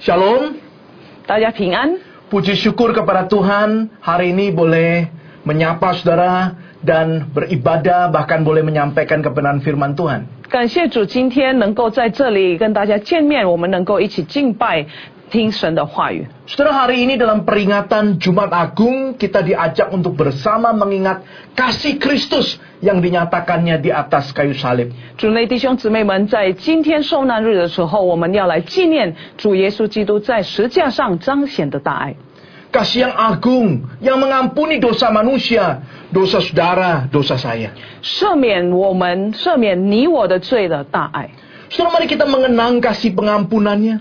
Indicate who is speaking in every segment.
Speaker 1: Shalom,
Speaker 2: 大家平安。
Speaker 1: puji syukur kepada Tuhan hari ini boleh menyapa saudara dan beribadah bahkan boleh menyampaikan kebenaran firman Tuhan.
Speaker 2: 感谢主，今天能够在这里跟大家见面，我们能够一起敬拜，听神的话语。
Speaker 1: Saudara hari ini dalam peringatan Jumat Agung kita diajak untuk bersama mengingat kasih Kristus yang dinyatakannya di atas kayu salib.
Speaker 2: 主内弟兄姊妹们，在今天受难日的时候，我们要来纪念主耶稣基督在十架上彰显的大爱，
Speaker 1: Kasih yang agung yang mengampuni dosa manusia, dosa saudara, dosa saya.
Speaker 2: 赦免我们、赦免你我的罪的大爱。
Speaker 1: Saudara mari kita mengenang kasih pengampunannya.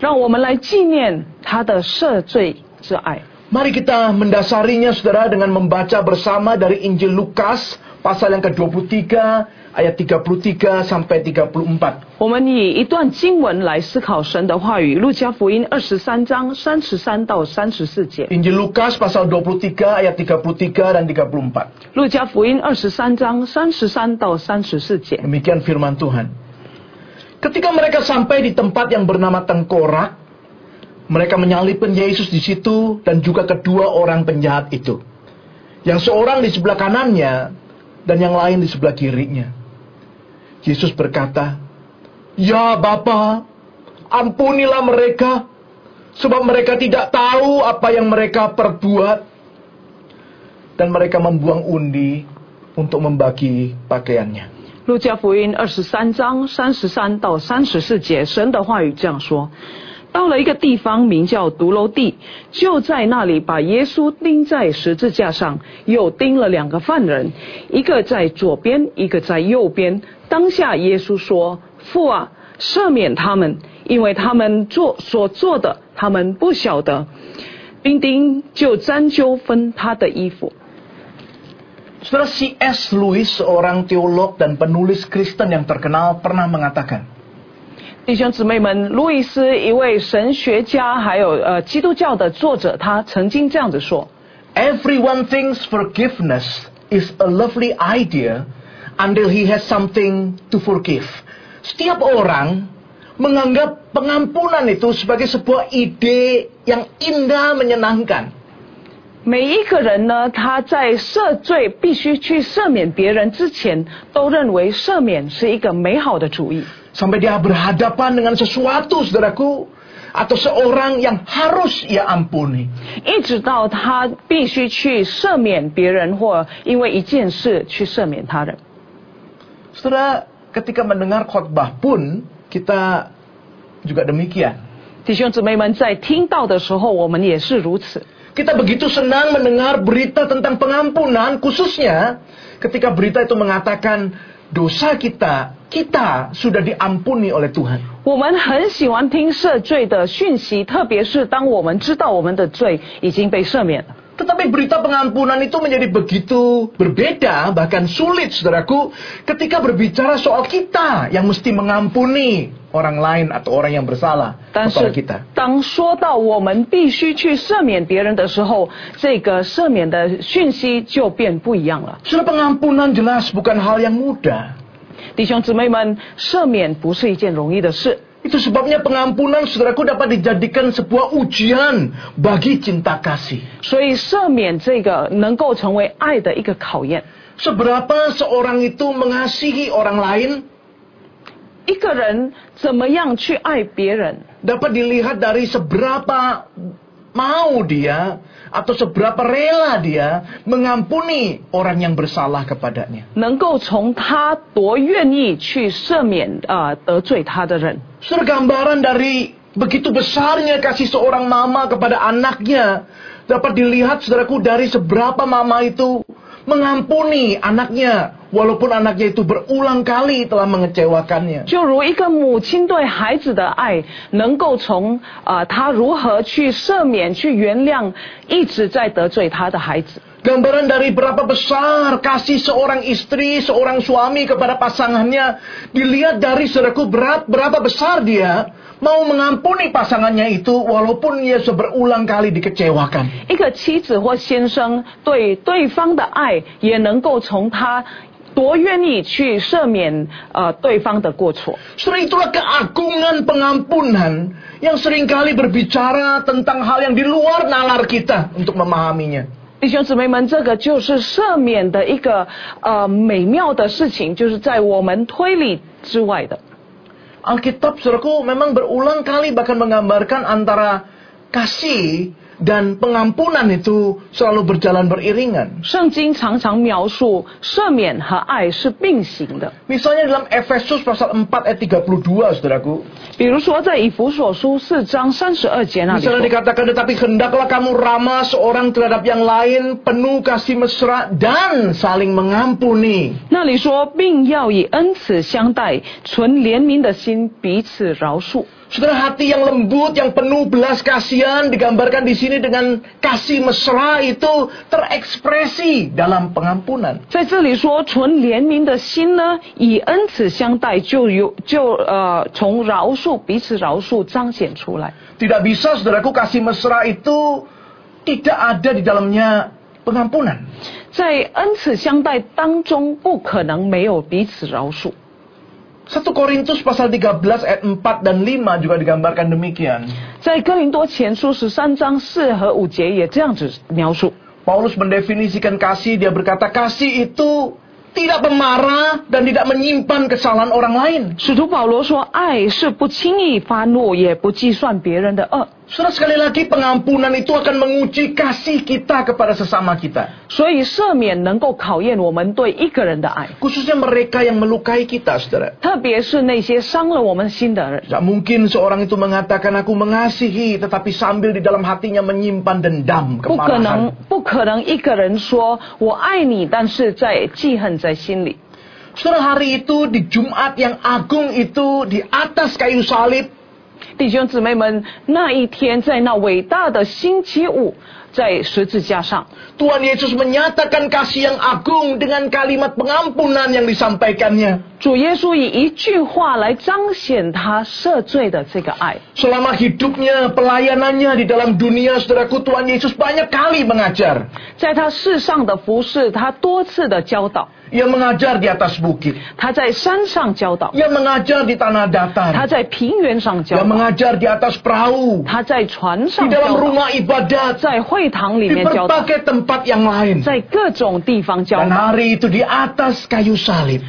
Speaker 2: 让我们来纪念他的赦罪之爱。
Speaker 1: Mari kita mendasarinya saudara dengan membaca bersama dari Injil Lukas pasal yang ke-23 ayat 33 sampai 34.
Speaker 2: 我们以一段经文来思考神的话语，《路加福音》二十三章三十三到三十四节。
Speaker 1: Injil Lukas pasal 23 ayat 33 dan 34.
Speaker 2: 路加福音二十三章三十三到三十四节，
Speaker 1: Demikian firman Tuhan. Ketika mereka sampai di tempat yang bernama Tengkorak, mereka menyalipkan Yesus di situ dan juga kedua orang penjahat itu. Yang seorang di sebelah kanannya dan yang lain di sebelah kirinya. Yesus berkata, "Ya Bapa, ampunilah mereka sebab mereka tidak tahu apa yang mereka perbuat." Dan mereka membuang undi untuk membagi pakaiannya.
Speaker 2: 路加福音二十三章三十三到三十四节，神的话语这样说：到了一个地方，名叫独楼地，就在那里把耶稣钉在十字架上，又钉了两个犯人，一个在左边，一个在右边。当下耶稣说：“父啊，赦免他们，因为他们做所做的，他们不晓得。”丁丁就沾纠纷他的衣服。
Speaker 1: Saudara C.S. Lewis, seorang teolog dan penulis Kristen yang terkenal, pernah mengatakan,
Speaker 2: 弟兄姊妹们，路易斯一位神学家，还有呃基督教的作者，他曾经这样子说：
Speaker 1: "Everyone thinks forgiveness is a lovely idea until he has something to forgive." Setiap orang menganggap pengampunan itu sebagai sebuah ide yang indah menyenangkan.
Speaker 2: 每一个人呢，他在赦罪必须去赦免别人之前，都认为赦免是一个美好的主意。
Speaker 1: Sampai dia berhadapan dengan sesuatu, saudaraku, atau seorang yang harus ia ampuni.
Speaker 2: 一直到他必须去赦免别人，或因为一件事去赦免他人。
Speaker 1: Saudara, ketika mendengar khotbah pun kita juga demikian.
Speaker 2: 弟兄姊妹们，在听到的时候，我们也是如此。
Speaker 1: Kita begitu senang mendengar berita tentang pengampunan, khususnya ketika berita itu mengatakan dosa kita, kita sudah diampuni oleh Tuhan.
Speaker 2: 我们很喜欢听赦罪的讯息，特别是当我们知道我们的罪已经被赦免了。
Speaker 1: Tetapi berita pengampunan itu menjadi begitu berbeda, bahkan sulit, saudaraku, ketika berbicara soal kita yang mesti mengampuni orang lain atau orang yang bersalah
Speaker 2: 但
Speaker 1: kepada
Speaker 2: 是
Speaker 1: kita.
Speaker 2: 当说到我们必须去赦免别人的时候，这个赦免的讯息就变不一样了。
Speaker 1: Saudara, pengampunan jelas bukan hal yang mudah.
Speaker 2: 弟兄姊妹们，赦免不是一件容易的事，
Speaker 1: Itu sebabnya pengampunan saudaraku dapat dijadikan sebuah ujian bagi cinta kasih.
Speaker 2: 所以赦免这个能够成为爱的一个考验。
Speaker 1: Seberapa seorang itu mengasihi orang lain
Speaker 2: 一个人怎么样去爱别人，
Speaker 1: dapat dilihat dari seberapa mau dia atau seberapa rela dia mengampuni orang yang bersalah kepadanya.
Speaker 2: 能够从他多愿意去赦免啊、呃得罪他的人。
Speaker 1: Saudara gambaran dari begitu besarnya kasih seorang mama kepada anaknya dapat dilihat saudaraku dari seberapa mama itu mengampuni anaknya walaupun anaknya itu berulang kali telah mengecewakannya.
Speaker 2: 就如一个母亲对孩子的爱，能够从啊、呃她如何去赦免、去原谅一直在得罪她的孩子，
Speaker 1: Gambaran dari berapa besar kasih seorang istri, seorang suami kepada pasangannya dilihat dari saudaraku berat berapa besar dia mau mengampuni pasangannya itu walaupun ia seberulang kali dikecewakan.
Speaker 2: 一个妻子或先生对对方的爱，也能够从他多愿意去赦免呃对方的过错。
Speaker 1: Saudara itulah keagungan pengampunan yang seringkali berbicara tentang hal yang di luar nalar kita untuk memahaminya.
Speaker 2: 弟兄姊妹们，这个就是赦免的一个呃美妙的事情，就是在我们推理之外的。
Speaker 1: Alkitab saudaraku memang berulang kali bahkan menggambarkan antara kasih dan pengampunan itu selalu berjalan beriringan.
Speaker 2: 圣经常常描述赦免和爱是并行的，
Speaker 1: Misalnya dalam Efesus pasal 4 ayat 32 saudaraku.
Speaker 2: 比如说在以弗所书四章三十二节那里说
Speaker 1: Misalnya dikatakan tetapi hendaklah kamu ramah seorang terhadap yang lain penuh kasih mesra dan saling mengampuni.
Speaker 2: 那里说，并要以恩慈相待，存怜悯的心，彼此饶恕。
Speaker 1: Saudara hati yang lembut, yang penuh belas kasihan digambarkan di sini dengan kasih mesra itu terekspresi dalam pengampunan.
Speaker 2: 在这里说存怜悯的心呢，以恩慈相待，就有就呃从饶恕彼此饶恕彰显出来。
Speaker 1: Tidak bisa saudaraku kasih mesra itu tidak ada di dalamnya pengampunan.
Speaker 2: 在恩慈相待当中，不可能没有彼此饶恕。
Speaker 1: 1 Korintus pasal 13 ayat 4 dan 5 juga digambarkan demikian.
Speaker 2: 在哥林多前书十三章四和五节也这样子描述。
Speaker 1: Paulus mendefinisikan kasih, dia berkata kasih itu tidak pemarah dan tidak menyimpan kesalahan orang lain.
Speaker 2: 使徒保罗说：“爱是不轻易发怒，也不计算别人的恶。
Speaker 1: Saudara sekali lagi pengampunan itu akan menguji kasih kita kepada sesama kita. ”
Speaker 2: 所以赦免能够考验我们对一个人的爱，
Speaker 1: Khususnya mereka yang melukai kita, saudara.
Speaker 2: 特别是那些伤了我们心的人。
Speaker 1: Tidak mungkin seorang itu mengatakan aku mengasihi, tetapi sambil di dalam hatinya menyimpan dendam
Speaker 2: 不可能
Speaker 1: kemarahan.，
Speaker 2: 不可能一个人说我爱你，但是在记恨在心里。
Speaker 1: Saudara hari itu di Jumat yang agung itu di atas kayu salib
Speaker 2: 弟兄姊妹们，那一天在那伟大的星期五，在十字架上，
Speaker 1: Tuhan Yesus menyatakan kasih yang agung dengan kalimat pengampunan yang disampaikannya.
Speaker 2: 主耶稣以一句话来彰显他赦罪的这个爱。
Speaker 1: Selama hidupnya, pelayanannya di dalam dunia, saudaraku Tuhan Yesus banyak kali mengajar.
Speaker 2: 在他世上的服饰，他多次的教导；
Speaker 1: Ia mengajar di atas bukit.
Speaker 2: 他在山上教导，
Speaker 1: Ia mengajar di tanah datar.
Speaker 2: 他在平原上教
Speaker 1: Ia
Speaker 2: 导，
Speaker 1: mengajar di atas perahu.
Speaker 2: 他在船
Speaker 1: Di
Speaker 2: 上教
Speaker 1: dalam
Speaker 2: 导，
Speaker 1: rumah ibadat.
Speaker 2: 在会堂里
Speaker 1: Di
Speaker 2: 面教导，
Speaker 1: berbagai tempat yang lain.
Speaker 2: 在各种地方教
Speaker 1: Dan
Speaker 2: 导。
Speaker 1: hari itu di atas kayu salib.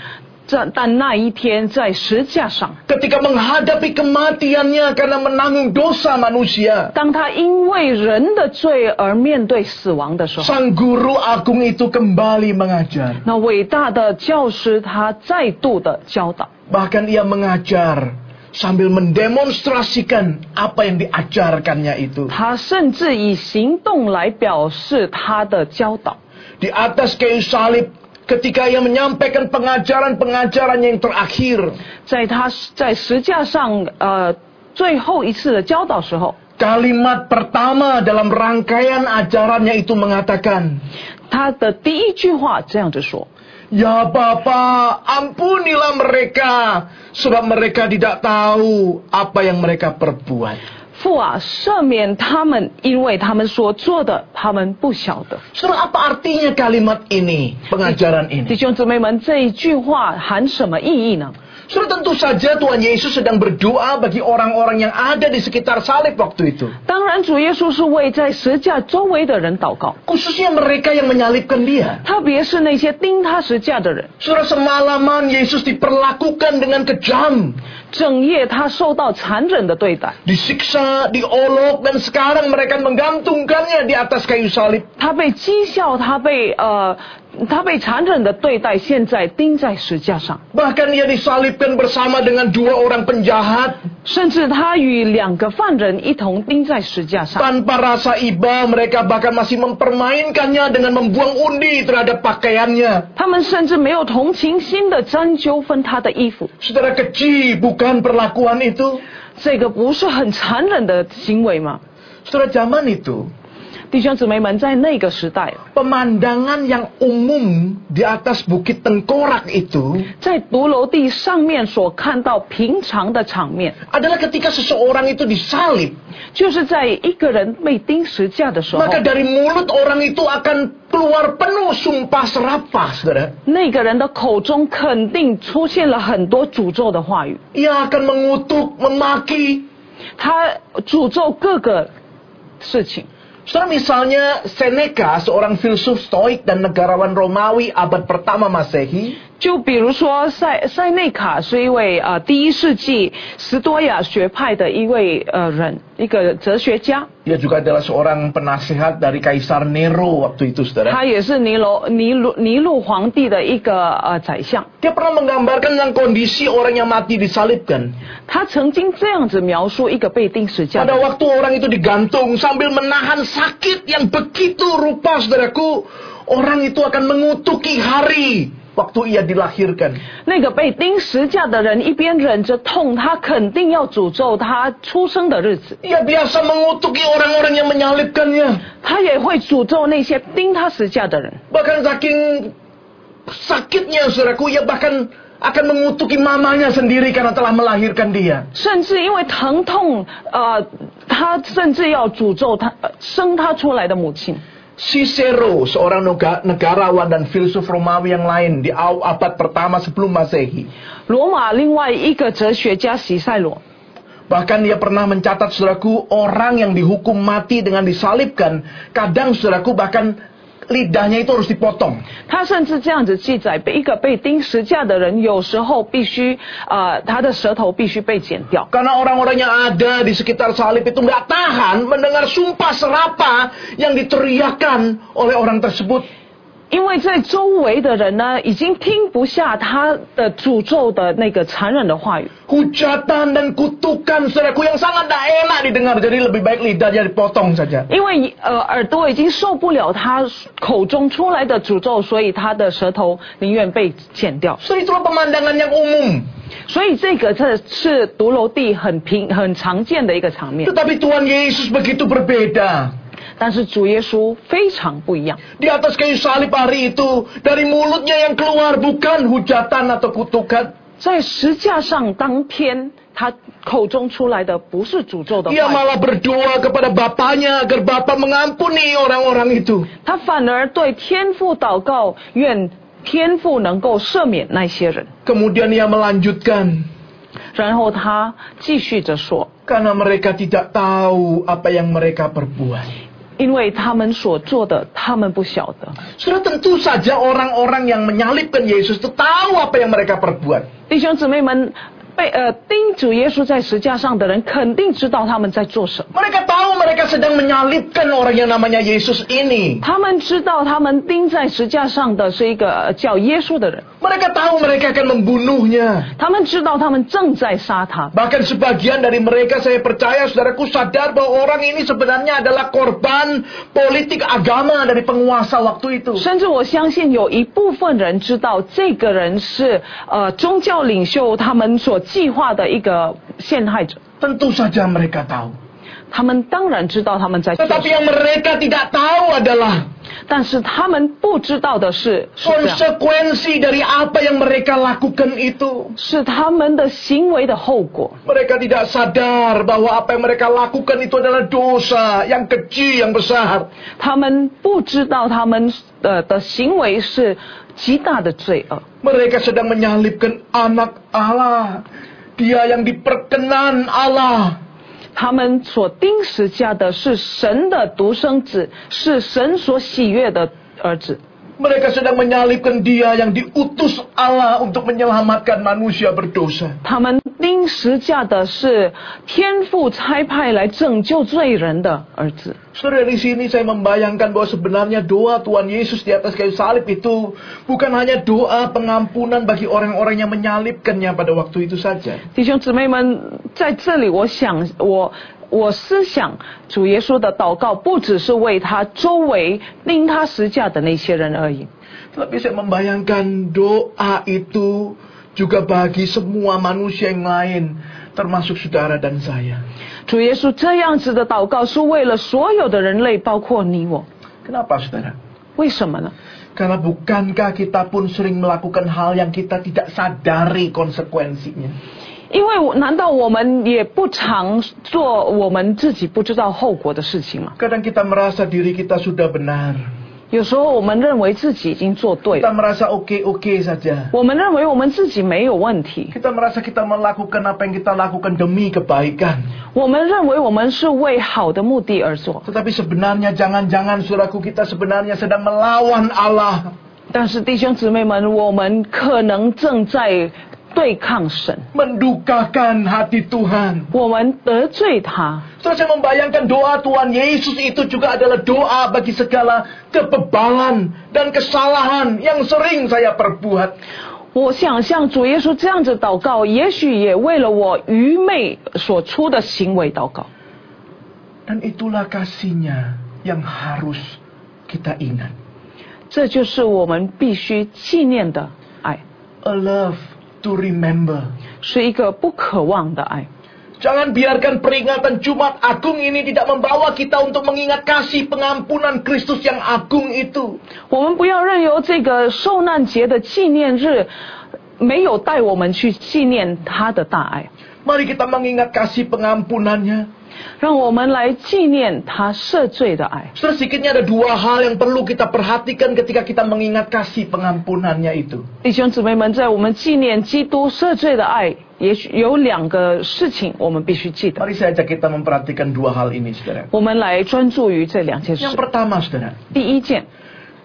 Speaker 2: 这但那一天在石架上，
Speaker 1: Ketika menghadapi kematiannya karena menanggung dosa manusia.
Speaker 2: 当他因为人的罪而面对死亡的时候，
Speaker 1: Sang guru agung itu kembali mengajar.
Speaker 2: 那伟大的教师他再度的教导，
Speaker 1: Bahkan ia mengajar sambil mendemonstrasikan apa yang diajarkannya itu.
Speaker 2: 他甚至以行动来表示他的教导。
Speaker 1: Di atas kayu salib ketika ia menyampaikan pengajaran-pengajarannya yang terakhir.
Speaker 2: 在他在石架上呃最后一次的教导时候，
Speaker 1: Kalimat pertama dalam rangkaian ajarannya itu mengatakan,
Speaker 2: 他的第一句话这样子说
Speaker 1: Ya Bapa, ampunilah mereka, sebab mereka tidak tahu apa yang mereka perbuat.：“
Speaker 2: 父啊，赦免他们，因为他们所做的，他们不晓得。
Speaker 1: Saudara, apa artinya kalimat ini, pengajaran ” ini?
Speaker 2: 弟兄姊妹们，这一句话含什么意义呢？
Speaker 1: Saudara, tentu saja Tuhan Yesus sedang berdoa bagi orang-orang yang ada di sekitar salib waktu itu.
Speaker 2: 当然，主耶稣是为在石架周围的人祷告，
Speaker 1: Khususnya mereka yang menyalibkan dia.
Speaker 2: 特别是那些钉他石架的人。
Speaker 1: Saudara, semalaman Yesus diperlakukan dengan kejam.
Speaker 2: 整夜他受到残忍的对待，
Speaker 1: disiksa, diolok, dan sekarang mereka menggantungkannya di atas kayu salib.
Speaker 2: 他被讥笑，他被呃，他被残忍的对待，现在钉在石架上。
Speaker 1: Bahkan ia disalibkan bersama dengan dua orang penjahat.
Speaker 2: 甚至他与两个犯人一同钉在石架上，
Speaker 1: Tanpa rasa iba, mereka bahkan masih mempermainkannya dengan membuang undi terhadap pakaiannya.
Speaker 2: 他们甚至没有同情心的针纠纷他的衣服，
Speaker 1: Saudara keji, bukan perlakuan itu.
Speaker 2: 这个不是很残忍的行为吗？
Speaker 1: Saudara zaman itu,
Speaker 2: 弟兄姊妹们，在那个时代，
Speaker 1: Pemandangan yang umum di atas bukit tengkorak itu
Speaker 2: 在独楼地上面所看到平常的场面，
Speaker 1: adalah ketika seseorang itu disalib,
Speaker 2: 就是在一个人被钉十架的时候，
Speaker 1: maka dari mulut orang itu akan keluar penuh sumpah serapah, saudara.
Speaker 2: 那个人的口中肯定出现了很多诅咒的话语，
Speaker 1: Ia akan mengutuk, memaki.
Speaker 2: 他诅咒各个事情。
Speaker 1: Saudara misalnya Seneca, seorang filsuf stoik dan negarawan Romawi abad pertama masehi,
Speaker 2: 就比如说塞塞内卡是一位呃第一世纪斯多亚学派的一位呃人，一个哲学家，
Speaker 1: dia juga adalah seorang penasehat dari Kaisar Nero waktu itu, saudara.
Speaker 2: 他也是尼罗尼禄尼禄皇帝的一个呃宰相。
Speaker 1: Dia pernah menggambarkan tentang kondisi orang yang mati disalibkan.
Speaker 2: 他曾经这样子描述一个被钉十架的
Speaker 1: Pada
Speaker 2: 人，
Speaker 1: waktu orang itu digantung sambil menahan sakit yang begitu rupa, saudaraku, orang itu akan mengutuki hari waktu ia dilahirkan.
Speaker 2: 那个被钉十架的人一边忍着痛，他肯定要诅咒他出生的日子，
Speaker 1: Ia biasa mengutuki orang-orang yang menyalibkannya.
Speaker 2: 他也会诅咒那些钉他十架的人。
Speaker 1: Bahkan saking sakitnya, saudaraku, ia bahkan akan mengutuki mamanya sendiri karena telah melahirkan dia.
Speaker 2: 甚至因为疼痛，呃，他甚至要诅咒他、呃生他出来的母亲。
Speaker 1: Cicero, seorang noga- negarawan dan filsuf Romawi yang lain di aw- abad pertama sebelum Masehi.
Speaker 2: 罗马另外一个哲学家席塞罗，
Speaker 1: Bahkan dia pernah mencatat saudaraku orang yang dihukum mati dengan disalibkan, kadang saudaraku bahkan lidahnya itu harus dipotong.
Speaker 2: 他甚至这样子记载：被一个被钉十架的人，有时候必须啊、呃他的舌头必须被剪掉。
Speaker 1: Karena orang-orang yang ada di sekitar salib itu nggak tahan mendengar sumpah serapa yang diteriakan oleh orang tersebut.
Speaker 2: 因为在周围的人呢，已经听不下他的诅咒的那个残忍的话语，
Speaker 1: Hujatan dan kutukan saudaraku yang sangat tidak enak didengar. Jadi lebih baik lidahnya dipotong saja.
Speaker 2: 因为呃耳朵已经受不了他口中出来的诅咒，所以他的舌头宁愿被剪掉。
Speaker 1: So itulah pemandangan yang umum.
Speaker 2: 所以这个这是独楼地很平很常见的一个场面，
Speaker 1: Tetapi Tuhan Yesus begitu berbeda.
Speaker 2: 但是主耶稣非常不一样。
Speaker 1: Di atas kayu salib hari itu, dari mulutnya yang keluar bukan hujatan atau kutukan.
Speaker 2: 在十架上当天，他口中出来的不是诅咒的
Speaker 1: Ia
Speaker 2: 话语，
Speaker 1: malah berdoa kepada Bapaknya agar Bapak mengampuni orang-orang itu.
Speaker 2: 他反而对天父祷告，愿天父能够赦免那些人。
Speaker 1: Kemudian ia melanjutkan,
Speaker 2: 然后他继续着说，
Speaker 1: karena mereka tidak tahu apa yang mereka perbuat.
Speaker 2: 因为他们所做的，他们不晓得。
Speaker 1: Sudah tentu saja orang-orang yang menyalibkan Yesus itu tahu apa yang mereka perbuat.
Speaker 2: 弟兄姊妹们，被呃钉主耶稣在十架上的人，肯定知道他们在做什么。
Speaker 1: Mereka tahu mereka sedang menyalibkan orang yang namanya Yesus ini.
Speaker 2: 他们知道，他们钉在石架上的是一个呃叫耶稣的人。
Speaker 1: Mereka tahu mereka akan membunuhnya.
Speaker 2: 他们知道，他们正在杀他。
Speaker 1: Bahkan sebagian dari mereka saya percaya saudaraku sadar bahwa orang ini sebenarnya adalah korban politik agama dari penguasa waktu itu.
Speaker 2: 甚至我相信，有一部分人知道这个人是呃宗教领袖他们所计划的一个陷害者。
Speaker 1: Tentu saja mereka tahu.
Speaker 2: 他们当然知道他们在做什
Speaker 1: Tetapi
Speaker 2: 么，
Speaker 1: yang mereka tidak tahu adalah
Speaker 2: 但是他们不知道的是，是这样
Speaker 1: konsekuensi dari apa yang mereka lakukan itu.
Speaker 2: 是他们的行为的后果。
Speaker 1: Mereka tidak sadar bahwa apa yang mereka lakukan itu adalah dosa yang kecil yang besar.
Speaker 2: 他们不知道他们呃的行为是极大的罪恶。
Speaker 1: Mereka sedang menyalibkan anak Allah. Dia yang diperkenan Allah.
Speaker 2: 他们所钉十架的是神的独生子，是神所喜悦的儿子。
Speaker 1: Mereka sedang menyalibkan dia yang diutus Allah untuk menyelamatkan manusia berdosa.
Speaker 2: 他们钉十架的是天父差派来拯救罪人的儿子。
Speaker 1: Saudara di sini saya membayangkan bahwa sebenarnya doa Tuhan Yesus di atas kayu salib itu bukan hanya doa pengampunan bagi orang-orang yang menyalibkannya pada waktu itu saja.
Speaker 2: 弟兄姊妹们，在这里，我想，我我思想主耶稣的祷告，不只是为他周围钉他十架的那些人而已，
Speaker 1: Tapi saya membayangkan doa itu juga bagi semua manusia yang lain termasuk saudara dan saya.
Speaker 2: 主耶稣这样子的祷告是为了所有的人类，包括你我。
Speaker 1: Kenapa saudara?
Speaker 2: 为什么呢？
Speaker 1: Karena bukankah kita pun sering melakukan hal yang kita tidak sadari konsekuensinya?
Speaker 2: 因为我难道我们也不常做我们自己不知道后果的事情吗？
Speaker 1: Kadang kita merasa diri kita sudah benar.
Speaker 2: 有时候我们认为自己已经做对
Speaker 1: Kita
Speaker 2: 了，
Speaker 1: merasa oke-oke saja.
Speaker 2: 我们认为我们自己没有问题，
Speaker 1: Kita merasa kita melakukan apa yang kita lakukan demi kebaikan.
Speaker 2: 我们认为我们是为好的目的而做。
Speaker 1: Tetapi sebenarnya jangan-jangan suraku kita sebenarnya sedang melawan Allah.
Speaker 2: 但是弟兄姊妹们，我们可能正在对抗神，
Speaker 1: Mendukakan hati Tuhan.
Speaker 2: 我们得罪他。
Speaker 1: Terus saya membayangkan doa Tuhan Yesus itu juga adalah doa bagi segala kebebalan dan kesalahan yang sering saya perbuat.
Speaker 2: 我想像主耶稣这样子祷告，也许也为了我愚昧所出的行为祷告。
Speaker 1: Dan itulah kasihnya yang harus kita ingat.
Speaker 2: 这就是我们必须纪念的爱，
Speaker 1: A love to remember.
Speaker 2: 是一个不可忘的爱。
Speaker 1: Jangan biarkan peringatan Jumat Agung ini tidak membawa kita untuk mengingat kasih pengampunan Kristus yang agung itu.
Speaker 2: 我们不要任由这个受难节的纪念日没有带我们去纪念他的大爱，
Speaker 1: Mari kita mengingat kasih pengampunannya.
Speaker 2: 让我们来纪念他赦罪的爱。
Speaker 1: Sedikitnya ada dua hal yang perlu kita perhatikan ketika kita mengingat kasih pengampunannya itu.
Speaker 2: 弟兄姊妹们，在我们纪念基督赦罪的爱，也许有两个事情我们必须记得。
Speaker 1: Mari saya ajak kita memperhatikan dua hal ini, saudara.
Speaker 2: 我们来专注于这两件事
Speaker 1: Yang。pertama, saudara,
Speaker 2: 第一件，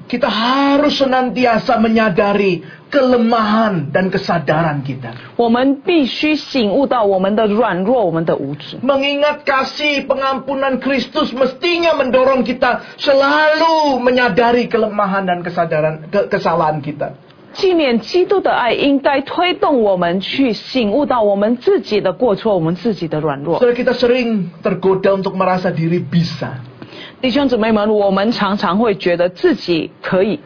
Speaker 1: kita harus senantiasa menyadari kelemahan dan kesadaran kita.
Speaker 2: 我们必须醒悟到我们的软弱，我们的无知。
Speaker 1: Mengingat kasih pengampunan Kristus mestinya mendorong kita selalu menyadari kelemahan dan kesadaran ke- kesalahan kita.
Speaker 2: 纪念基督的爱，应该推动我们去醒悟到我们自己的过错，我们自己的软弱。
Speaker 1: Saudara kita sering tergoda untuk merasa diri bisa.
Speaker 2: 弟兄姊妹们，我们常常会觉得自己可以，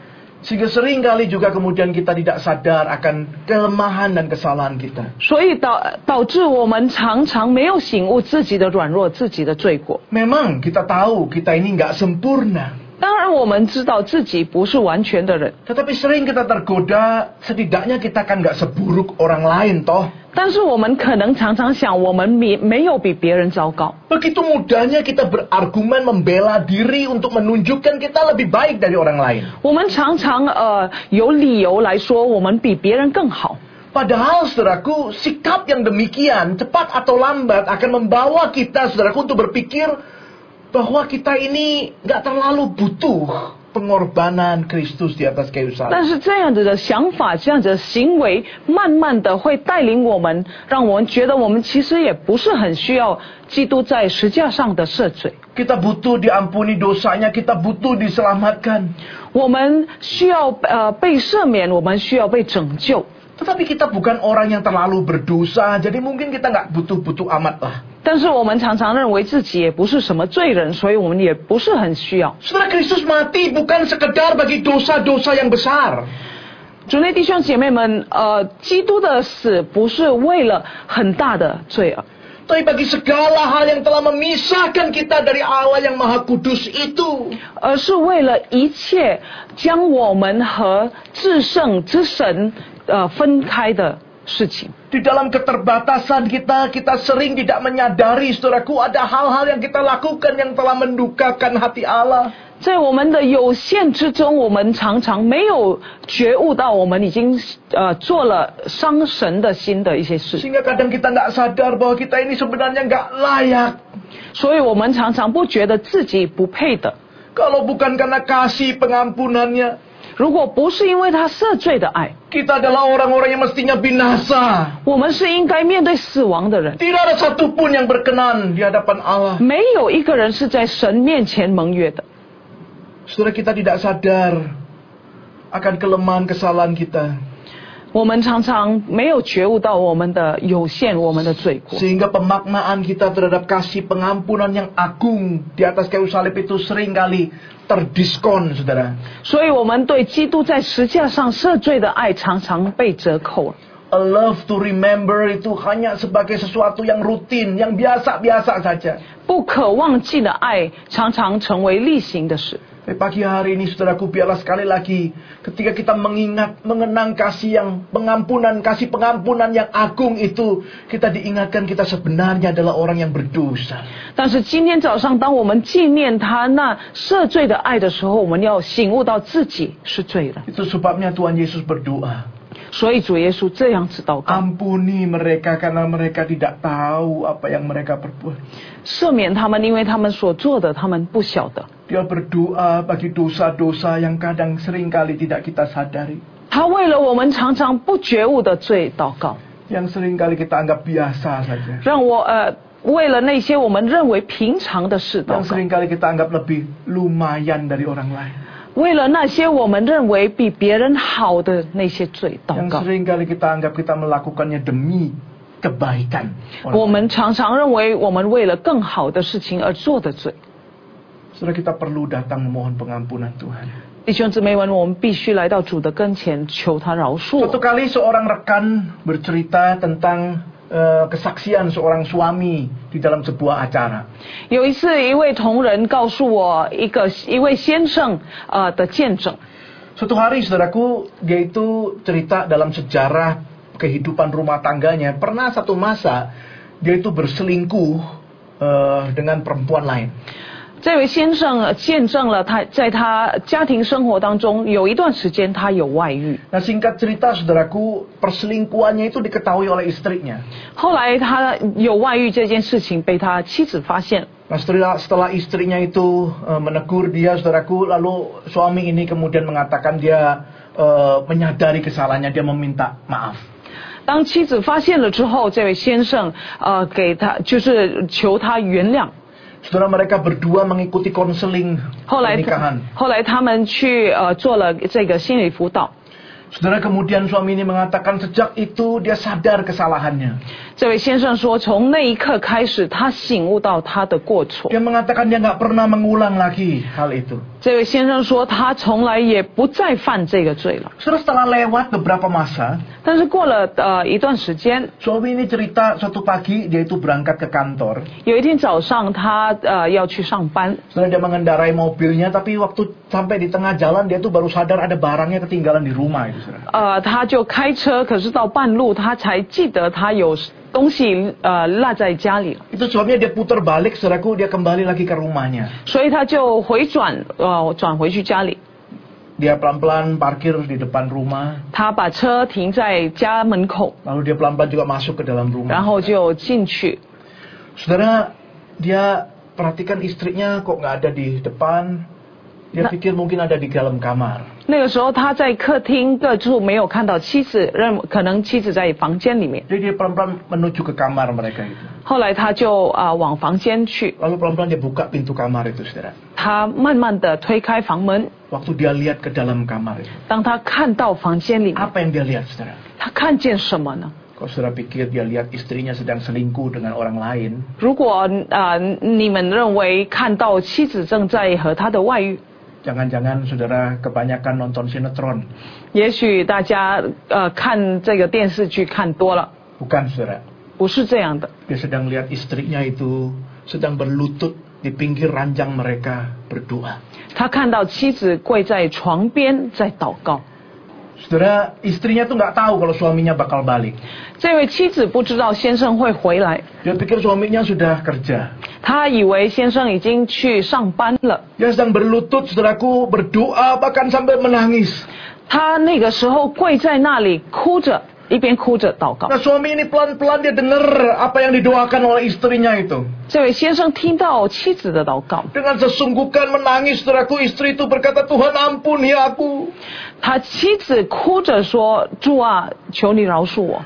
Speaker 1: Sehingga sering kali juga kemudian kita tidak sadar akan kelemahan dan kesalahan kita.
Speaker 2: 所以导导致我们常常没有醒悟自己的软弱、自己的罪过。
Speaker 1: Memang kita tahu kita ini nggak sempurna.
Speaker 2: 当然，我们知道自己不是完全的人，
Speaker 1: Tetapi sering kita tergoda, setidaknya kita kan nggak seburuk orang lain toh.
Speaker 2: 但是我们可能常常想，我们没没有比别人糟糕。
Speaker 1: Begitu mudahnya kita berargumen membela diri untuk menunjukkan kita lebih baik dari orang lain.
Speaker 2: 我们常常呃有理由来说我们比别人更好，
Speaker 1: Padahal saudaraku, sikap yang demikian cepat atau lambat akan membawa kita saudaraku untuk berpikir bahwa kita ini nggak terlalu butuh pengorbanan Kristus di atas kayu salib.
Speaker 2: 但是这样子的想法、这样子的行为，慢慢的会带领我们，让我们觉得我们其实也不是很需要基督在十字架上的赦罪。
Speaker 1: Kita butuh diampuni dosanya, kita butuh diselamatkan.
Speaker 2: 我们需要呃被赦免，我们需要被拯救。
Speaker 1: Tetapi kita bukan orang yang terlalu berdosa, jadi mungkin kita nggak butuh-butuh amat lah.
Speaker 2: 但是我们常常认为自己也不是什么罪人，所以我们也不是很需要。
Speaker 1: Saudara Kristus mati bukan sekedar bagi dosa-dosa yang besar.
Speaker 2: 主内弟兄姐妹们，呃，基督的死不是为了很大的罪恶，
Speaker 1: Tapi bagi segala hal yang telah memisahkan kita dari Allah yang maha kudus itu.
Speaker 2: 而是为了一切将我们和至圣之神呃分开的事情。
Speaker 1: Di dalam keterbatasan kita, kita sering tidak menyadari, saudaraku, ada hal-hal yang kita lakukan yang telah mendukakan hati Allah.
Speaker 2: 在我们的有限之中，我们常常没有觉悟到我们已经呃做了伤神的心的一些事，
Speaker 1: Sehingga kadang kita nggak sadar bahwa kita ini sebenarnya nggak layak.
Speaker 2: 所以我们常常不觉得自己不配的。
Speaker 1: Kalau bukan karena kasih pengampunannya,
Speaker 2: 如果不是因为他赦罪的爱，
Speaker 1: kita adalah orang-orang yang mestinya binasa.
Speaker 2: 我们是应该面对死亡的人。
Speaker 1: Tidak ada satupun yang berkenan di hadapan Allah.
Speaker 2: 没有一个人是在神面前盟约的。
Speaker 1: Saudara kita tidak sadar akan kelemahan kesalahan kita.
Speaker 2: 我们常常没有觉悟到我们的有限，我们的罪过。
Speaker 1: Sehingga pemaknaan kita terhadap kasih pengampunan yang agung di atas kayu salib itu seringkali terdiskon, saudara.
Speaker 2: 所以我们对基督在十字架上赦罪的爱常常被折扣了。
Speaker 1: a love to remember itu hanya sebagai sesuatu yang rutin, yang biasa-biasa saja.
Speaker 2: 不可忘记的爱常常成为例行的事。
Speaker 1: Tapi pagi hari ini saudaraku biarlah sekali lagi ketika kita mengingat mengenang kasih yang pengampunan, kasih pengampunan yang agung itu, kita diingatkan kita sebenarnya adalah orang yang berdosa.
Speaker 2: 但是今天早上，当我们纪念他那赦罪的爱的时候，我们要醒悟到自己是罪人。
Speaker 1: Itu sebabnya Tuhan Yesus berdoa,
Speaker 2: 所以主耶稣这样子祷告，
Speaker 1: ampuni mereka karena mereka tidak tahu apa yang mereka perbuat.
Speaker 2: 赦免他们，因为他们所做的他们不晓得。
Speaker 1: Dia berdoa bagi dosa-dosa yang kadang seringkali tidak kita sadari,
Speaker 2: 他为了我们常常不觉悟的罪祷告，
Speaker 1: yang seringkali kita anggap biasa saja.
Speaker 2: 让我呃为了那些我们认为平常的事
Speaker 1: yang
Speaker 2: 祷告，
Speaker 1: seringkali kita anggap lebih lumayan dari orang lain,
Speaker 2: 为了那些我们认为比别人好的那些罪
Speaker 1: yang
Speaker 2: 祷告。
Speaker 1: seringkali kita anggap kita melakukannya demi kebaikan.
Speaker 2: 我
Speaker 1: Orang.
Speaker 2: 们常常认为我们为了更好的事情而做的罪。
Speaker 1: Saudara kita perlu datang memohon pengampunan Tuhan.
Speaker 2: 弟兄姊妹们，我们必须来到主的跟前，求他饶恕我
Speaker 1: Suatu kali seorang rekan bercerita tentang eh, kesaksian seorang suami di dalam sebuah acara.
Speaker 2: 有一次，一位同仁告诉我一个一位先生呃的见证。
Speaker 1: Suatu hari saudaraku dia itu cerita dalam sejarah kehidupan rumah tangganya pernah satu masa dia itu berselingkuh eh, dengan perempuan lain.
Speaker 2: 这位先生呃见证了他在他家庭生活当中有一段时间他有外遇，
Speaker 1: Nah singkat cerita saudaraku perselingkuhannya itu diketahui oleh istrinya.
Speaker 2: 后来他有外遇这件事情被他妻子发现，
Speaker 1: Nah setelah, setelah istrinya itu eh, menegur dia saudaraku lalu suami ini kemudian mengatakan dia eh, menyadari kesalahannya dia meminta maaf.
Speaker 2: 当妻子发现了之后，这位先生呃给他就是求他原谅。
Speaker 1: Saudara mereka berdua mengikuti konseling
Speaker 2: 后来他
Speaker 1: pernikahan.
Speaker 2: 后来他们去呃做了这个心理辅导。
Speaker 1: Saudara kemudian suami ini mengatakan sejak itu dia sadar kesalahannya.
Speaker 2: 这位先生说，从那一刻开始，他醒悟到他的过错。
Speaker 1: Dia mengatakan dia nggak pernah mengulang lagi hal itu.
Speaker 2: 这位先生说，他从来也不再犯这个罪了。
Speaker 1: Saudara setelah lewat beberapa masa,
Speaker 2: 但是过了呃一段时间，
Speaker 1: suami ini cerita suatu pagi dia itu berangkat ke kantor.
Speaker 2: 有一天早上他呃要去上班，
Speaker 1: Setelah dia mengendarai mobilnya, tapi waktu sampai di tengah jalan dia tuh baru sadar ada barangnya ketinggalan di rumah itu, saudara.
Speaker 2: 呃他就开车，可是到半路他才记得他有东西呃落在家里了，
Speaker 1: Itu sebabnya dia putar balik, saudaraku, dia kembali lagi ke rumahnya.
Speaker 2: 所以他就回转呃转回去家里，
Speaker 1: Dia pelan-pelan parkir di depan rumah,
Speaker 2: 他把车停在家门口，
Speaker 1: lalu dia pelan-pelan juga masuk ke dalam rumah.
Speaker 2: 然后就进去。
Speaker 1: Saudara, dia perhatikan istrinya kok nggak ada di depan. Dia
Speaker 2: Nah.
Speaker 1: pikir mungkin ada di dalam kamar.
Speaker 2: 那个时候他在客厅各处没有看到妻子，认可能妻子在房间里面。
Speaker 1: Jadi dia pelan-pelan menuju ke kamar mereka itu.
Speaker 2: 后来他就啊、往房间去，
Speaker 1: Lalu pelan-pelan dia buka pintu kamar itu, saudara.
Speaker 2: 他慢慢的推开房门，
Speaker 1: Waktu dia lihat ke dalam kamar itu,
Speaker 2: 当他看到房间里面，
Speaker 1: apa yang dia lihat, saudara?
Speaker 2: 他看见什么呢？
Speaker 1: Kau saudara pikir dia lihat istrinya sedang selingkuh dengan orang lain?
Speaker 2: 如果啊、你们认为看到妻子正在和他的外遇，
Speaker 1: Jangan-jangan saudara kebanyakan nonton sinetron.
Speaker 2: 也许大家呃看这个电视剧看多了，
Speaker 1: Bukan saudara.
Speaker 2: 不是这样的。
Speaker 1: Dia sedang lihat istrinya itu sedang berlutut di pinggir ranjang mereka berdoa.
Speaker 2: 他看到妻子跪在床边在祷告，
Speaker 1: Saudara, istrinya tuh nggak tahu kalau suaminya bakal balik.
Speaker 2: 这位妻子不知道先生会回来，
Speaker 1: Dia pikir suaminya sudah kerja.
Speaker 2: 她以为先生已经去上班了。
Speaker 1: Dia sedang berlutut, saudaraku, berdoa bahkan sampai menangis.
Speaker 2: 她那个时候跪在那里哭着，一边哭着祷告。
Speaker 1: Nah, suami ini pelan-pelan dia dengar apa yang didoakan oleh istrinya itu.
Speaker 2: 这位先生听到妻子的祷告，
Speaker 1: Dengan sesunggukan menangis, saudaraku, istri itu berkata, Tuhan ampuni aku.
Speaker 2: 他妻子哭着说：“主啊，求你饶恕我，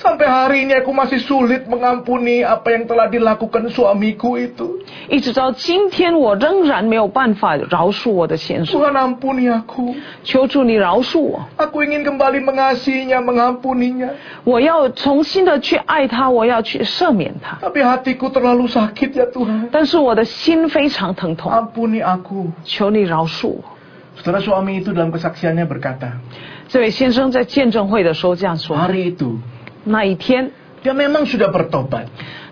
Speaker 1: Sampai hari ini aku masih sulit mengampuni apa yang telah dilakukan suamiku itu.
Speaker 2: 一直到今天我仍然没有办法饶恕我的先生，
Speaker 1: Tuhan ampuni aku.
Speaker 2: 求主你饶恕我，
Speaker 1: Aku ingin kembali mengasihinya, mengampuninya.
Speaker 2: 我要重新的去爱他，我要去赦免他。
Speaker 1: Tapi hatiku terlalu sakit ya Tuhan. 啊
Speaker 2: 但是我的心非常疼痛，
Speaker 1: Ampuni aku.
Speaker 2: 求你饶恕我。”
Speaker 1: Saudara suami itu dalam kesaksiannya berkata,
Speaker 2: 这位先生在见证会的时候这样说：
Speaker 1: hari itu
Speaker 2: 那一天
Speaker 1: dia memang sudah bertobat.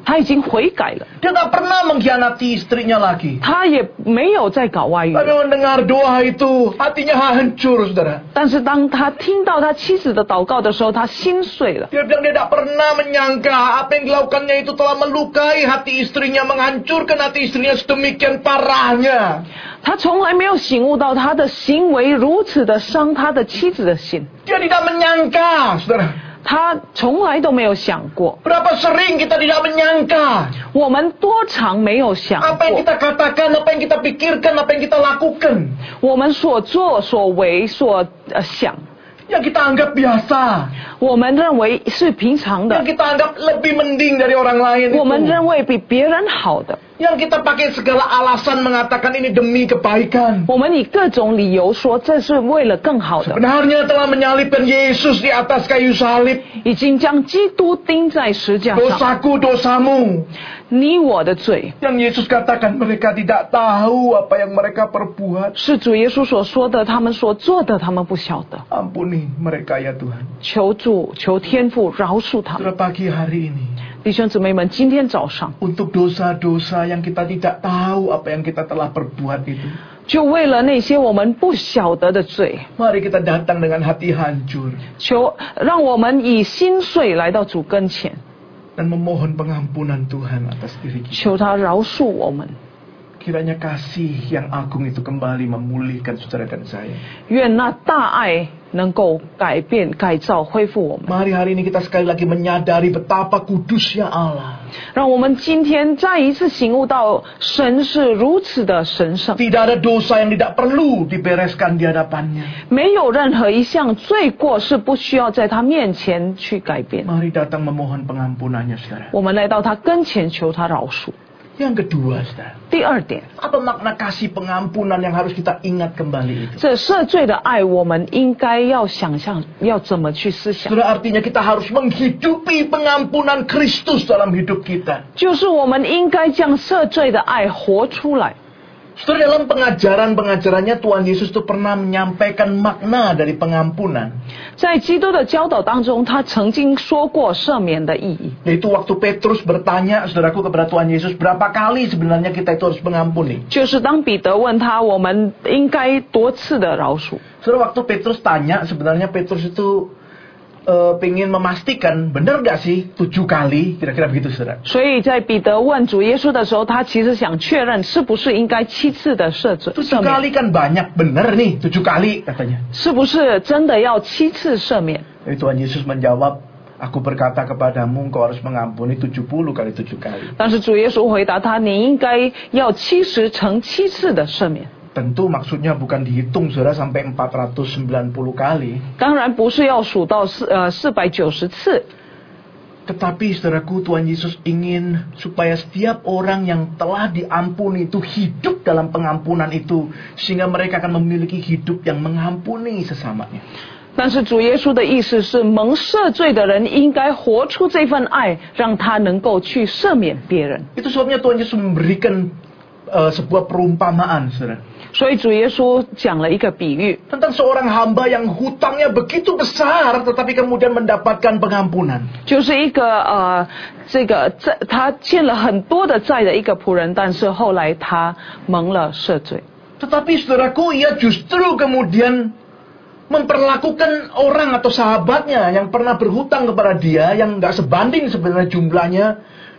Speaker 2: 他已经悔改了，
Speaker 1: Dia tak pernah mengkhianati istrinya lagi.
Speaker 2: 他也没有再搞外遇。
Speaker 1: Tapi mendengar doa itu, hatinya hancur, saudara.
Speaker 2: 但是当他听到他妻子的祷告的时候，他心碎了。
Speaker 1: Dia bilang dia tak pernah menyangka apa yang dilakukannya itu telah melukai hati istrinya, menghancurkan hati istrinya sedemikian parahnya.
Speaker 2: 他从来没有醒悟到他的行为如此的伤他的妻子的心，
Speaker 1: Dia tidak menyangka, saudara.
Speaker 2: 他从来都没有想过。
Speaker 1: Berapa sering kita tidak menyangka
Speaker 2: 我们多长没有想
Speaker 1: apa yang
Speaker 2: 过，
Speaker 1: kita katakan, apa yang kita pikirkan, apa yang kita lakukan
Speaker 2: 我们所作所为所呃想，
Speaker 1: yang kita anggap biasa,
Speaker 2: 我们认为是平常
Speaker 1: yang
Speaker 2: 的，
Speaker 1: kita anggap lebih mending dari orang lain
Speaker 2: 我们
Speaker 1: itu,
Speaker 2: 认为比别人好的，
Speaker 1: yang kita pakai segala alasan mengatakan ini demi kebaikan.
Speaker 2: 我们以各种理由说这是为了更好的，
Speaker 1: Benarnya telah menyalibkan Yesus di atas kayu salib.
Speaker 2: 已经将基督钉在石架上，
Speaker 1: Dosaku, dosamu.
Speaker 2: 你我的罪。
Speaker 1: Yang Yesus katakan mereka tidak tahu apa yang mereka perbuat.
Speaker 2: 是主耶稣所说的，他们所做的，他们不晓得。
Speaker 1: Ampuni mereka ya Tuhan.
Speaker 2: 求助，求天父饶恕他们。
Speaker 1: Saudara pagi hari ini.
Speaker 2: 弟兄姊妹们，今天早上
Speaker 1: Untuk dosa-dosa yang kita tidak tahu apa yang kita telah perbuat itu.
Speaker 2: 就为了那些我们不晓得的罪，
Speaker 1: Mari kita datang dengan hati hancur.
Speaker 2: 求让我们以心碎来到主跟前，
Speaker 1: Dan memohon pengampunan Tuhan atas diri kita.
Speaker 2: 求他饶恕我们。
Speaker 1: Kiranya kasih yang agung itu kembali memulihkan saudara dan saya.
Speaker 2: 愿那大爱能够改变、改造、恢复我们。
Speaker 1: Mari hari ini kita sekali lagi menyadari betapa kudusnya Allah.
Speaker 2: 让我们今天再一次醒悟到神是如此的神圣，
Speaker 1: Tidak ada dosa yang tidak perlu dibereskan di hadapannya.
Speaker 2: 没有任何一项罪过是不需要在他面前去改变。
Speaker 1: Mari datang memohon pengampunannya, saudara.
Speaker 2: 我们来到他跟前求他饶恕。
Speaker 1: Yang kedua, saudara.
Speaker 2: 第二点，
Speaker 1: Apa makna kasih pengampunan yang harus kita ingat kembali itu?
Speaker 2: 这赦罪的爱，我们应该要想象要怎么去思想，
Speaker 1: Saudara, artinya kita harus menghidupi pengampunan Kristus dalam hidup kita.
Speaker 2: 就是我们应该将赦罪的爱活出来。
Speaker 1: Saudara, dalam pengajaran-pengajarannya Tuhan Yesus itu pernah menyampaikan makna dari pengampunan.
Speaker 2: 在基督的教导当中，他曾经说过赦免的意义。
Speaker 1: Yaitu waktu Petrus bertanya, saudaraku kepada Tuhan Yesus, berapa kali sebenarnya kita itu harus mengampuni?
Speaker 2: 就是当彼得问他，我们应该多次的饶恕，
Speaker 1: Saudara waktu Petrus tanya sebenarnya Petrus itu eh, pengen memastikan benar gak sih tujuh kali kira-kira begitu saudara.
Speaker 2: 所以在彼得问主耶稣的时候，他其实想确认是不是应该七次的赦罪赦
Speaker 1: Tujuh
Speaker 2: 免，
Speaker 1: kali kan banyak bener nih tujuh kali katanya.
Speaker 2: 是不是真的要七次赦免？
Speaker 1: Jadi Tuhan Yesus menjawab, aku berkata kepadamu engkau harus mengampuni 70 kali tujuh kali.
Speaker 2: 但是主耶稣回答他：“你应该要七十乘七次的赦免。
Speaker 1: Tentu maksudnya bukan dihitung saudara sampai 490 kali. ”
Speaker 2: 当然不是要数到四呃四百九十次，
Speaker 1: Tetapi saudaraku Tuhan Yesus ingin supaya setiap orang yang telah diampuni itu hidup dalam pengampunan itu sehingga mereka akan memiliki hidup yang mengampuni sesamanya.
Speaker 2: 但是主耶稣的意思是，蒙赦罪的人应该活出这份爱，让他能够去赦免别人。
Speaker 1: Itu sebabnya Tuhan Yesus memberikan eh, sebuah perumpamaan saudara.
Speaker 2: 所以主耶稣讲了一个比喻，
Speaker 1: Tentang seorang hamba yang hutangnya begitu besar tetapi kemudian mendapatkan pengampunan.
Speaker 2: 就是一个呃，这个债他欠了很多的债的一个仆人，但是后来他蒙了赦罪。
Speaker 1: Tetapi saudaraku ia justru kemudian memperlakukan orang atau sahabatnya yang pernah berhutang kepada dia yang nggak sebanding sebenarnya jumlahnya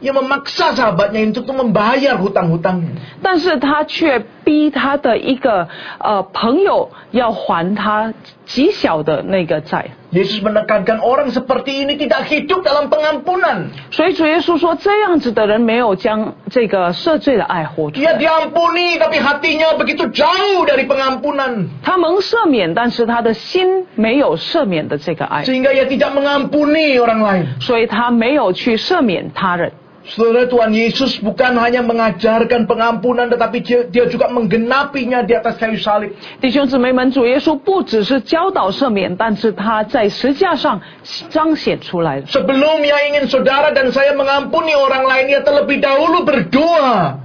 Speaker 1: ia memaksa sahabatnya itu tuh membayar hutang-hutangnya.
Speaker 2: 但是他却逼他的一个呃朋友要还他极小的那个债，
Speaker 1: Yesus menekankan orang seperti ini tidak hidup dalam pengampunan.
Speaker 2: 所以主耶稣说，这样子的人没有将这个赦罪的爱活出
Speaker 1: Dia
Speaker 2: 来。
Speaker 1: diampuni tapi hatinya begitu jauh dari pengampunan
Speaker 2: 他蒙赦免，但是他的心没有赦免的这个爱，
Speaker 1: sehingga ia tidak mengampuni orang lain.
Speaker 2: 所以他没有去赦免他人。
Speaker 1: Saudara Tuhan Yesus bukan hanya mengajarkan pengampunan tetapi dia- dia juga menggenapinya di atas kayu salib.
Speaker 2: 弟兄姊妹们，主耶稣不只是教导赦免，但是他在实架上彰显出来了。
Speaker 1: Sebelum ia ingin saudara dan saya mengampuni orang lain, ia terlebih dahulu berdoa.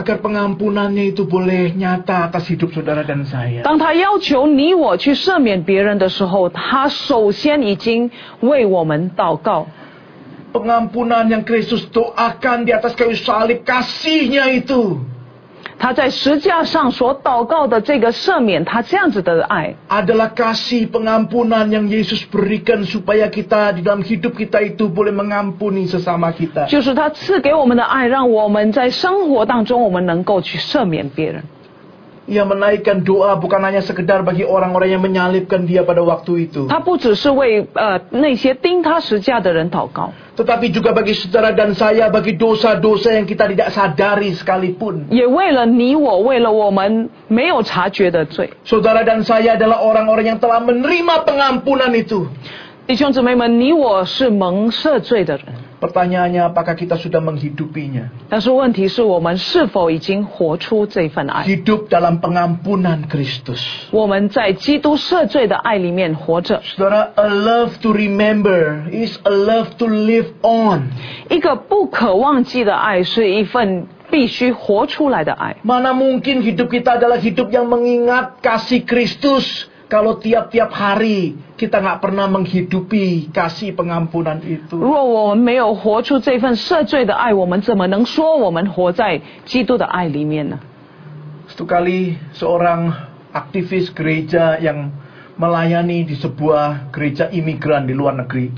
Speaker 1: agar pengampunannya itu boleh nyata atas hidup saudara dan saya.
Speaker 2: 当他要求你我去赦免别人的时候，他首先已经为我们祷告。
Speaker 1: Pengampunan yang Kristus doakan di atas kayu salib kasihnya itu
Speaker 2: 他在十架上所祷告的这个赦免，他这样子的爱，
Speaker 1: adalah kasih pengampunan yang Yesus berikan supaya kita di dalam hidup kita itu boleh mengampuni sesama kita.
Speaker 2: 就是他赐给我们的爱，让我们在生活当中，我们能够去赦免别人。
Speaker 1: Ia menaikkan doa bukan hanya sekedar bagi orang-orang yang menyalibkan dia pada waktu itu,
Speaker 2: 他不只是为呃那些钉他十架的人祷告，
Speaker 1: tetapi juga bagi saudara dan saya bagi dosa-dosa yang kita tidak sadari sekalipun.
Speaker 2: 也为了你我，为了我们没有察觉的罪。
Speaker 1: Saudara dan saya adalah orang-orang yang telah menerima pengampunan itu.
Speaker 2: 弟兄姊妹们，你我是蒙赦罪的人，
Speaker 1: Pertanyaannya apakah kita sudah menghidupinya?
Speaker 2: 但是问题是我们是否已经活出这份爱？
Speaker 1: Hidup dalam pengampunan Kristus.
Speaker 2: 我们在基督赦罪的爱里面活着。
Speaker 1: Saudara, a love to remember is a love to live on.
Speaker 2: 一个不可忘记的爱，是一份必须活出来的爱。
Speaker 1: Mana mungkin hidup kita adalah hidup yang mengingat kasih Kristus kalau tiap-tiap hari kita nggak pernah menghidupi kasih pengampunan itu.
Speaker 2: 若我们没有活出这份赦罪的爱，我们怎么能说我们活在基督的爱里面呢？
Speaker 1: Satu kali seorang aktivis gereja yang melayani di sebuah gereja imigran di luar negeri.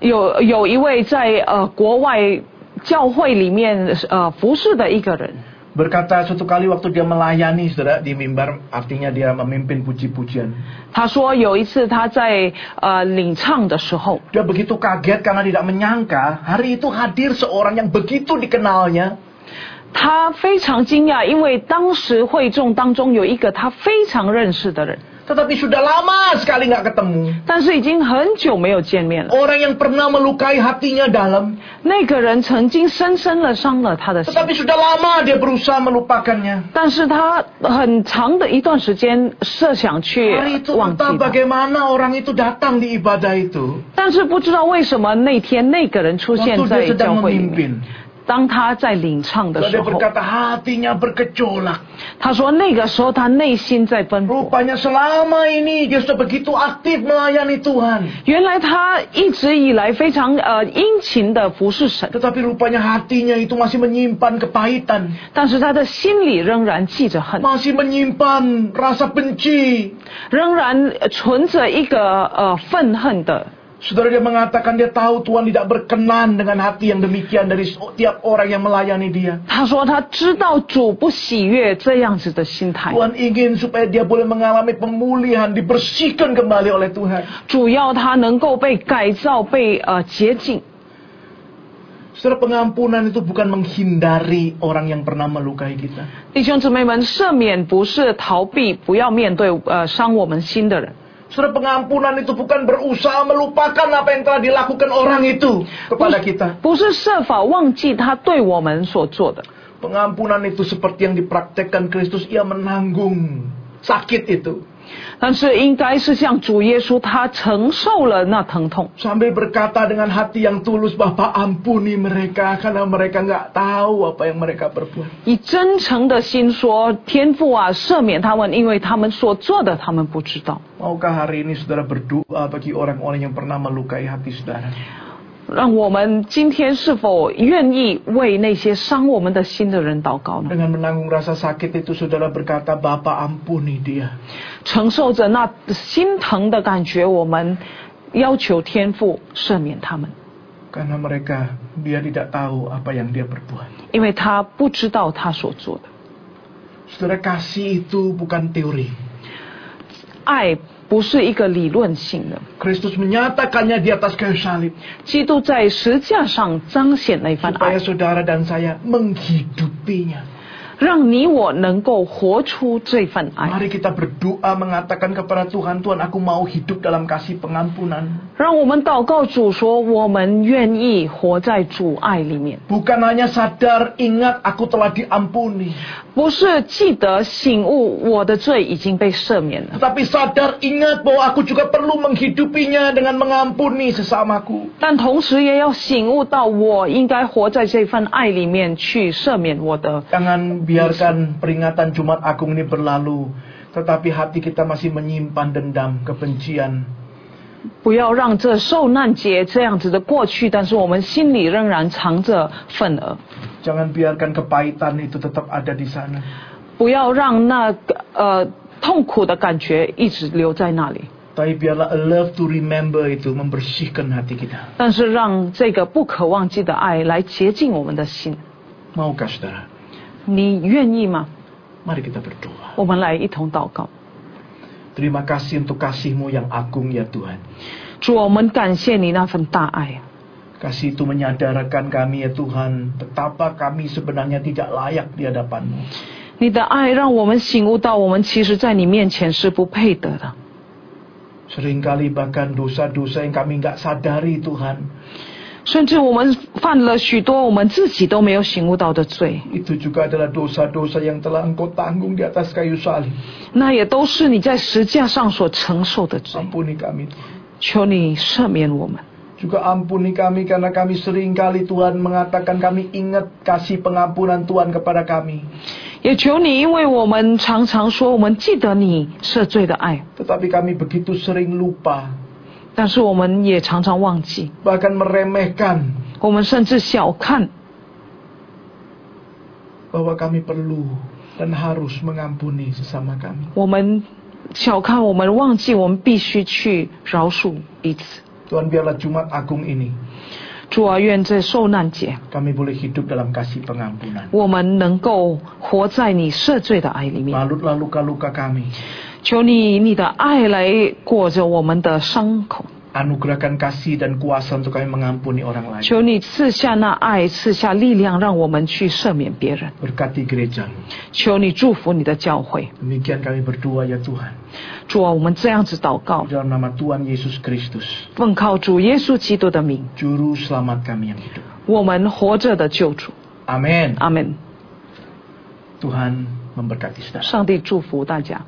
Speaker 2: 有有一位在呃国外教会里面呃服侍的一个人，
Speaker 1: Berkata suatu kali waktu dia melayani saudara di mimbar artinya dia memimpin puji-pujian.
Speaker 2: 他说有一次他在呃领唱的时候，
Speaker 1: Dia begitu kaget karena tidak menyangka hari itu hadir seorang yang begitu dikenalnya
Speaker 2: 他非常惊讶，因为当时会众当中有一个他非常认识的人，
Speaker 1: Tetapi sudah lama sekali nggak ketemu.
Speaker 2: 但是已经很久没有见面了。
Speaker 1: Orang yang pernah melukai hatinya dalam.
Speaker 2: 那个人曾经深深的伤了他的心，
Speaker 1: Tetapi sudah lama dia berusaha melupakannya.
Speaker 2: 但是他很长的一段时间设想去
Speaker 1: Hari itu
Speaker 2: 忘记
Speaker 1: entah
Speaker 2: 他。
Speaker 1: bagaimana orang itu datang di ibadah itu.
Speaker 2: 但是不知道为什么那天那个人出
Speaker 1: Waktu
Speaker 2: 现
Speaker 1: dia
Speaker 2: 在
Speaker 1: sedang
Speaker 2: 教会里面，
Speaker 1: memimpin.
Speaker 2: 当他在领唱的
Speaker 1: Lalu
Speaker 2: 时
Speaker 1: dia
Speaker 2: 候，
Speaker 1: berkata hatinya bergejolak.
Speaker 2: 他说那个时候他内心在奔波。
Speaker 1: Rupanya selama ini dia sudah begitu aktif melayani Tuhan.
Speaker 2: 原来他一直以来非常呃殷勤的服侍神，
Speaker 1: Tetapi rupanya hatinya itu masih menyimpan kepahitan.
Speaker 2: 但是他的心里仍然记着恨，
Speaker 1: Masih menyimpan rasa benci.
Speaker 2: 仍然呃存着一个呃愤恨的
Speaker 1: Saudara dia mengatakan dia tahu Tuhan tidak berkenan dengan hati yang demikian dari setiap orang yang melayani dia.
Speaker 2: 他说他知道主不喜悦这样子的心态，
Speaker 1: Tuhan ingin supaya dia boleh mengalami pemulihan, dibersihkan kembali oleh Tuhan.
Speaker 2: 主要他能够被改造、被呃洁净。
Speaker 1: Saudara pengampunan itu bukan menghindari orang yang pernah melukai kita.
Speaker 2: 弟兄姊妹们，赦免不是逃避，不要面对呃伤我们心的人。
Speaker 1: Saudara pengampunan itu bukan berusaha melupakan apa yang telah dilakukan orang itu
Speaker 2: 不
Speaker 1: kepada
Speaker 2: 是
Speaker 1: kita.
Speaker 2: 不是设法忘记他对我们所做的，
Speaker 1: Pengampunan itu seperti yang dipraktekkan Kristus, ia menanggung sakit itu.
Speaker 2: 但是应该是像主耶稣，他承受了那疼痛，
Speaker 1: Sambil berkata dengan hati yang tulus, Bapak ampuni mereka karena mereka nggak tahu apa yang mereka perbuat.
Speaker 2: 以真诚的心说：“天父啊，赦免他们，因为他们所做的他们不知道。
Speaker 1: Maukah hari ini saudara berdoa bagi orang-orang yang pernah melukai hati saudara? ”
Speaker 2: 让我们今天是否愿意为那些伤我们的心的人祷告呢？
Speaker 1: Dengan menanggung rasa sakit itu saudara berkata, Bapak ampuni dia.
Speaker 2: 承受着那心疼的感觉，我们要求天父赦免他们，
Speaker 1: Karena mereka, dia tidak tahu apa yang dia perbuat.
Speaker 2: 因为他不知道他所做的。
Speaker 1: Saudara kasih itu bukan teori.
Speaker 2: 爱不是一个理论性的，
Speaker 1: Kristus menyatakannya di atas kayu salib.
Speaker 2: 基督在十架上彰显那份
Speaker 1: supaya
Speaker 2: 爱，
Speaker 1: saudara dan saya menghidupinya.
Speaker 2: 让你我能够活出这份爱。
Speaker 1: Mari kita berdoa mengatakan kepada Tuhan, Tuhan aku mau hidup dalam kasih pengampunan.
Speaker 2: 让我们祷告主说，我们愿意活在主爱里面，
Speaker 1: Bukan hanya sadar, ingat aku telah diampuni.
Speaker 2: 不是记得醒悟我的罪已经被赦免了。
Speaker 1: Tetapi sadar, ingat bahwa aku juga perlu menghidupinya dengan mengampuni sesamaku.
Speaker 2: 但同时也要醒悟到，我应该活在这份爱里面去赦免我的。
Speaker 1: Jangan biarkan peringatan Jumat Agung ini berlalu, tetapi hati kita masih menyimpan dendam, kebencian.
Speaker 2: 不要让这受难节这样子的过去，但是我们心里仍然藏着愤而。
Speaker 1: Jangan biarkan kepahitan itu tetap ada di sana.
Speaker 2: 不要让那个呃痛苦的感觉一直留在那里，
Speaker 1: Tapi biarlah a love to remember itu membersihkan hati kita.
Speaker 2: 但是让这个不可忘记的爱来洁净我们的心。
Speaker 1: Maukah saudara?
Speaker 2: 你愿意吗？
Speaker 1: Mari kita berdoa.
Speaker 2: 我们来一同祷告。
Speaker 1: Terima kasih untuk kasihmu yang agung ya Tuhan.
Speaker 2: 主，啊我们感谢你那份大爱，啊
Speaker 1: Kasih itu menyadarkan kami ya Tuhan, betapa kami sebenarnya tidak layak di hadapanmu.
Speaker 2: 你的爱让我们醒悟到，我们其实在你面前是不配得的。
Speaker 1: Seringkali bahkan dosa-dosa yang kami nggak sadari Tuhan,
Speaker 2: 甚至我们犯了许多我们自己都没有醒悟到的罪，
Speaker 1: itu juga adalah dosa-dosa yang telah engkau tanggung di atas kayu salib.
Speaker 2: 那也都是你在十架上所承受的罪。
Speaker 1: Ampuni kami Tuhan.
Speaker 2: 求你赦免我们，
Speaker 1: Juga ampuni kami karena kami seringkali Tuhan mengatakan kami ingat kasih pengampunan Tuhan kepada kami.
Speaker 2: 也求你，因为我们常常说我们记得你赦罪的爱，
Speaker 1: Tetapi kami begitu sering lupa,
Speaker 2: 但是我们也常常忘记，
Speaker 1: bahkan meremehkan
Speaker 2: 我们甚至小看
Speaker 1: bahwa kami perlu dan harus mengampuni sesama kami.
Speaker 2: 我们，小看我们，忘记我们必须去饶恕彼此。
Speaker 1: Tuhan biarlah Jumat Agung ini
Speaker 2: 主啊，愿这受难节，
Speaker 1: kami boleh hidup dalam kasih pengampunan.
Speaker 2: 我们能够活在你赦罪的爱里面。
Speaker 1: Malutlah luka-luka kami,
Speaker 2: 求你以你的爱来裹着我们的伤口，
Speaker 1: anugerahkan kasih dan kuasa untuk kami mengampuni orang lain.
Speaker 2: 求你赐下那爱，赐下力量，让我们去赦免别人。
Speaker 1: Berkati gereja.
Speaker 2: 求你祝福你的教会。
Speaker 1: Demikian kami berdoa ya Tuhan.
Speaker 2: 主啊，我们这样子祷告，
Speaker 1: Dalam nama Tuhan Yesus Kristus,
Speaker 2: 奉靠主耶稣基督的名，
Speaker 1: Juru Selamat kami yang hidup.
Speaker 2: 我们活着的救主。
Speaker 1: Amin.
Speaker 2: 阿门。
Speaker 1: Tuhan memberkati saudara.
Speaker 2: 上帝祝福大家。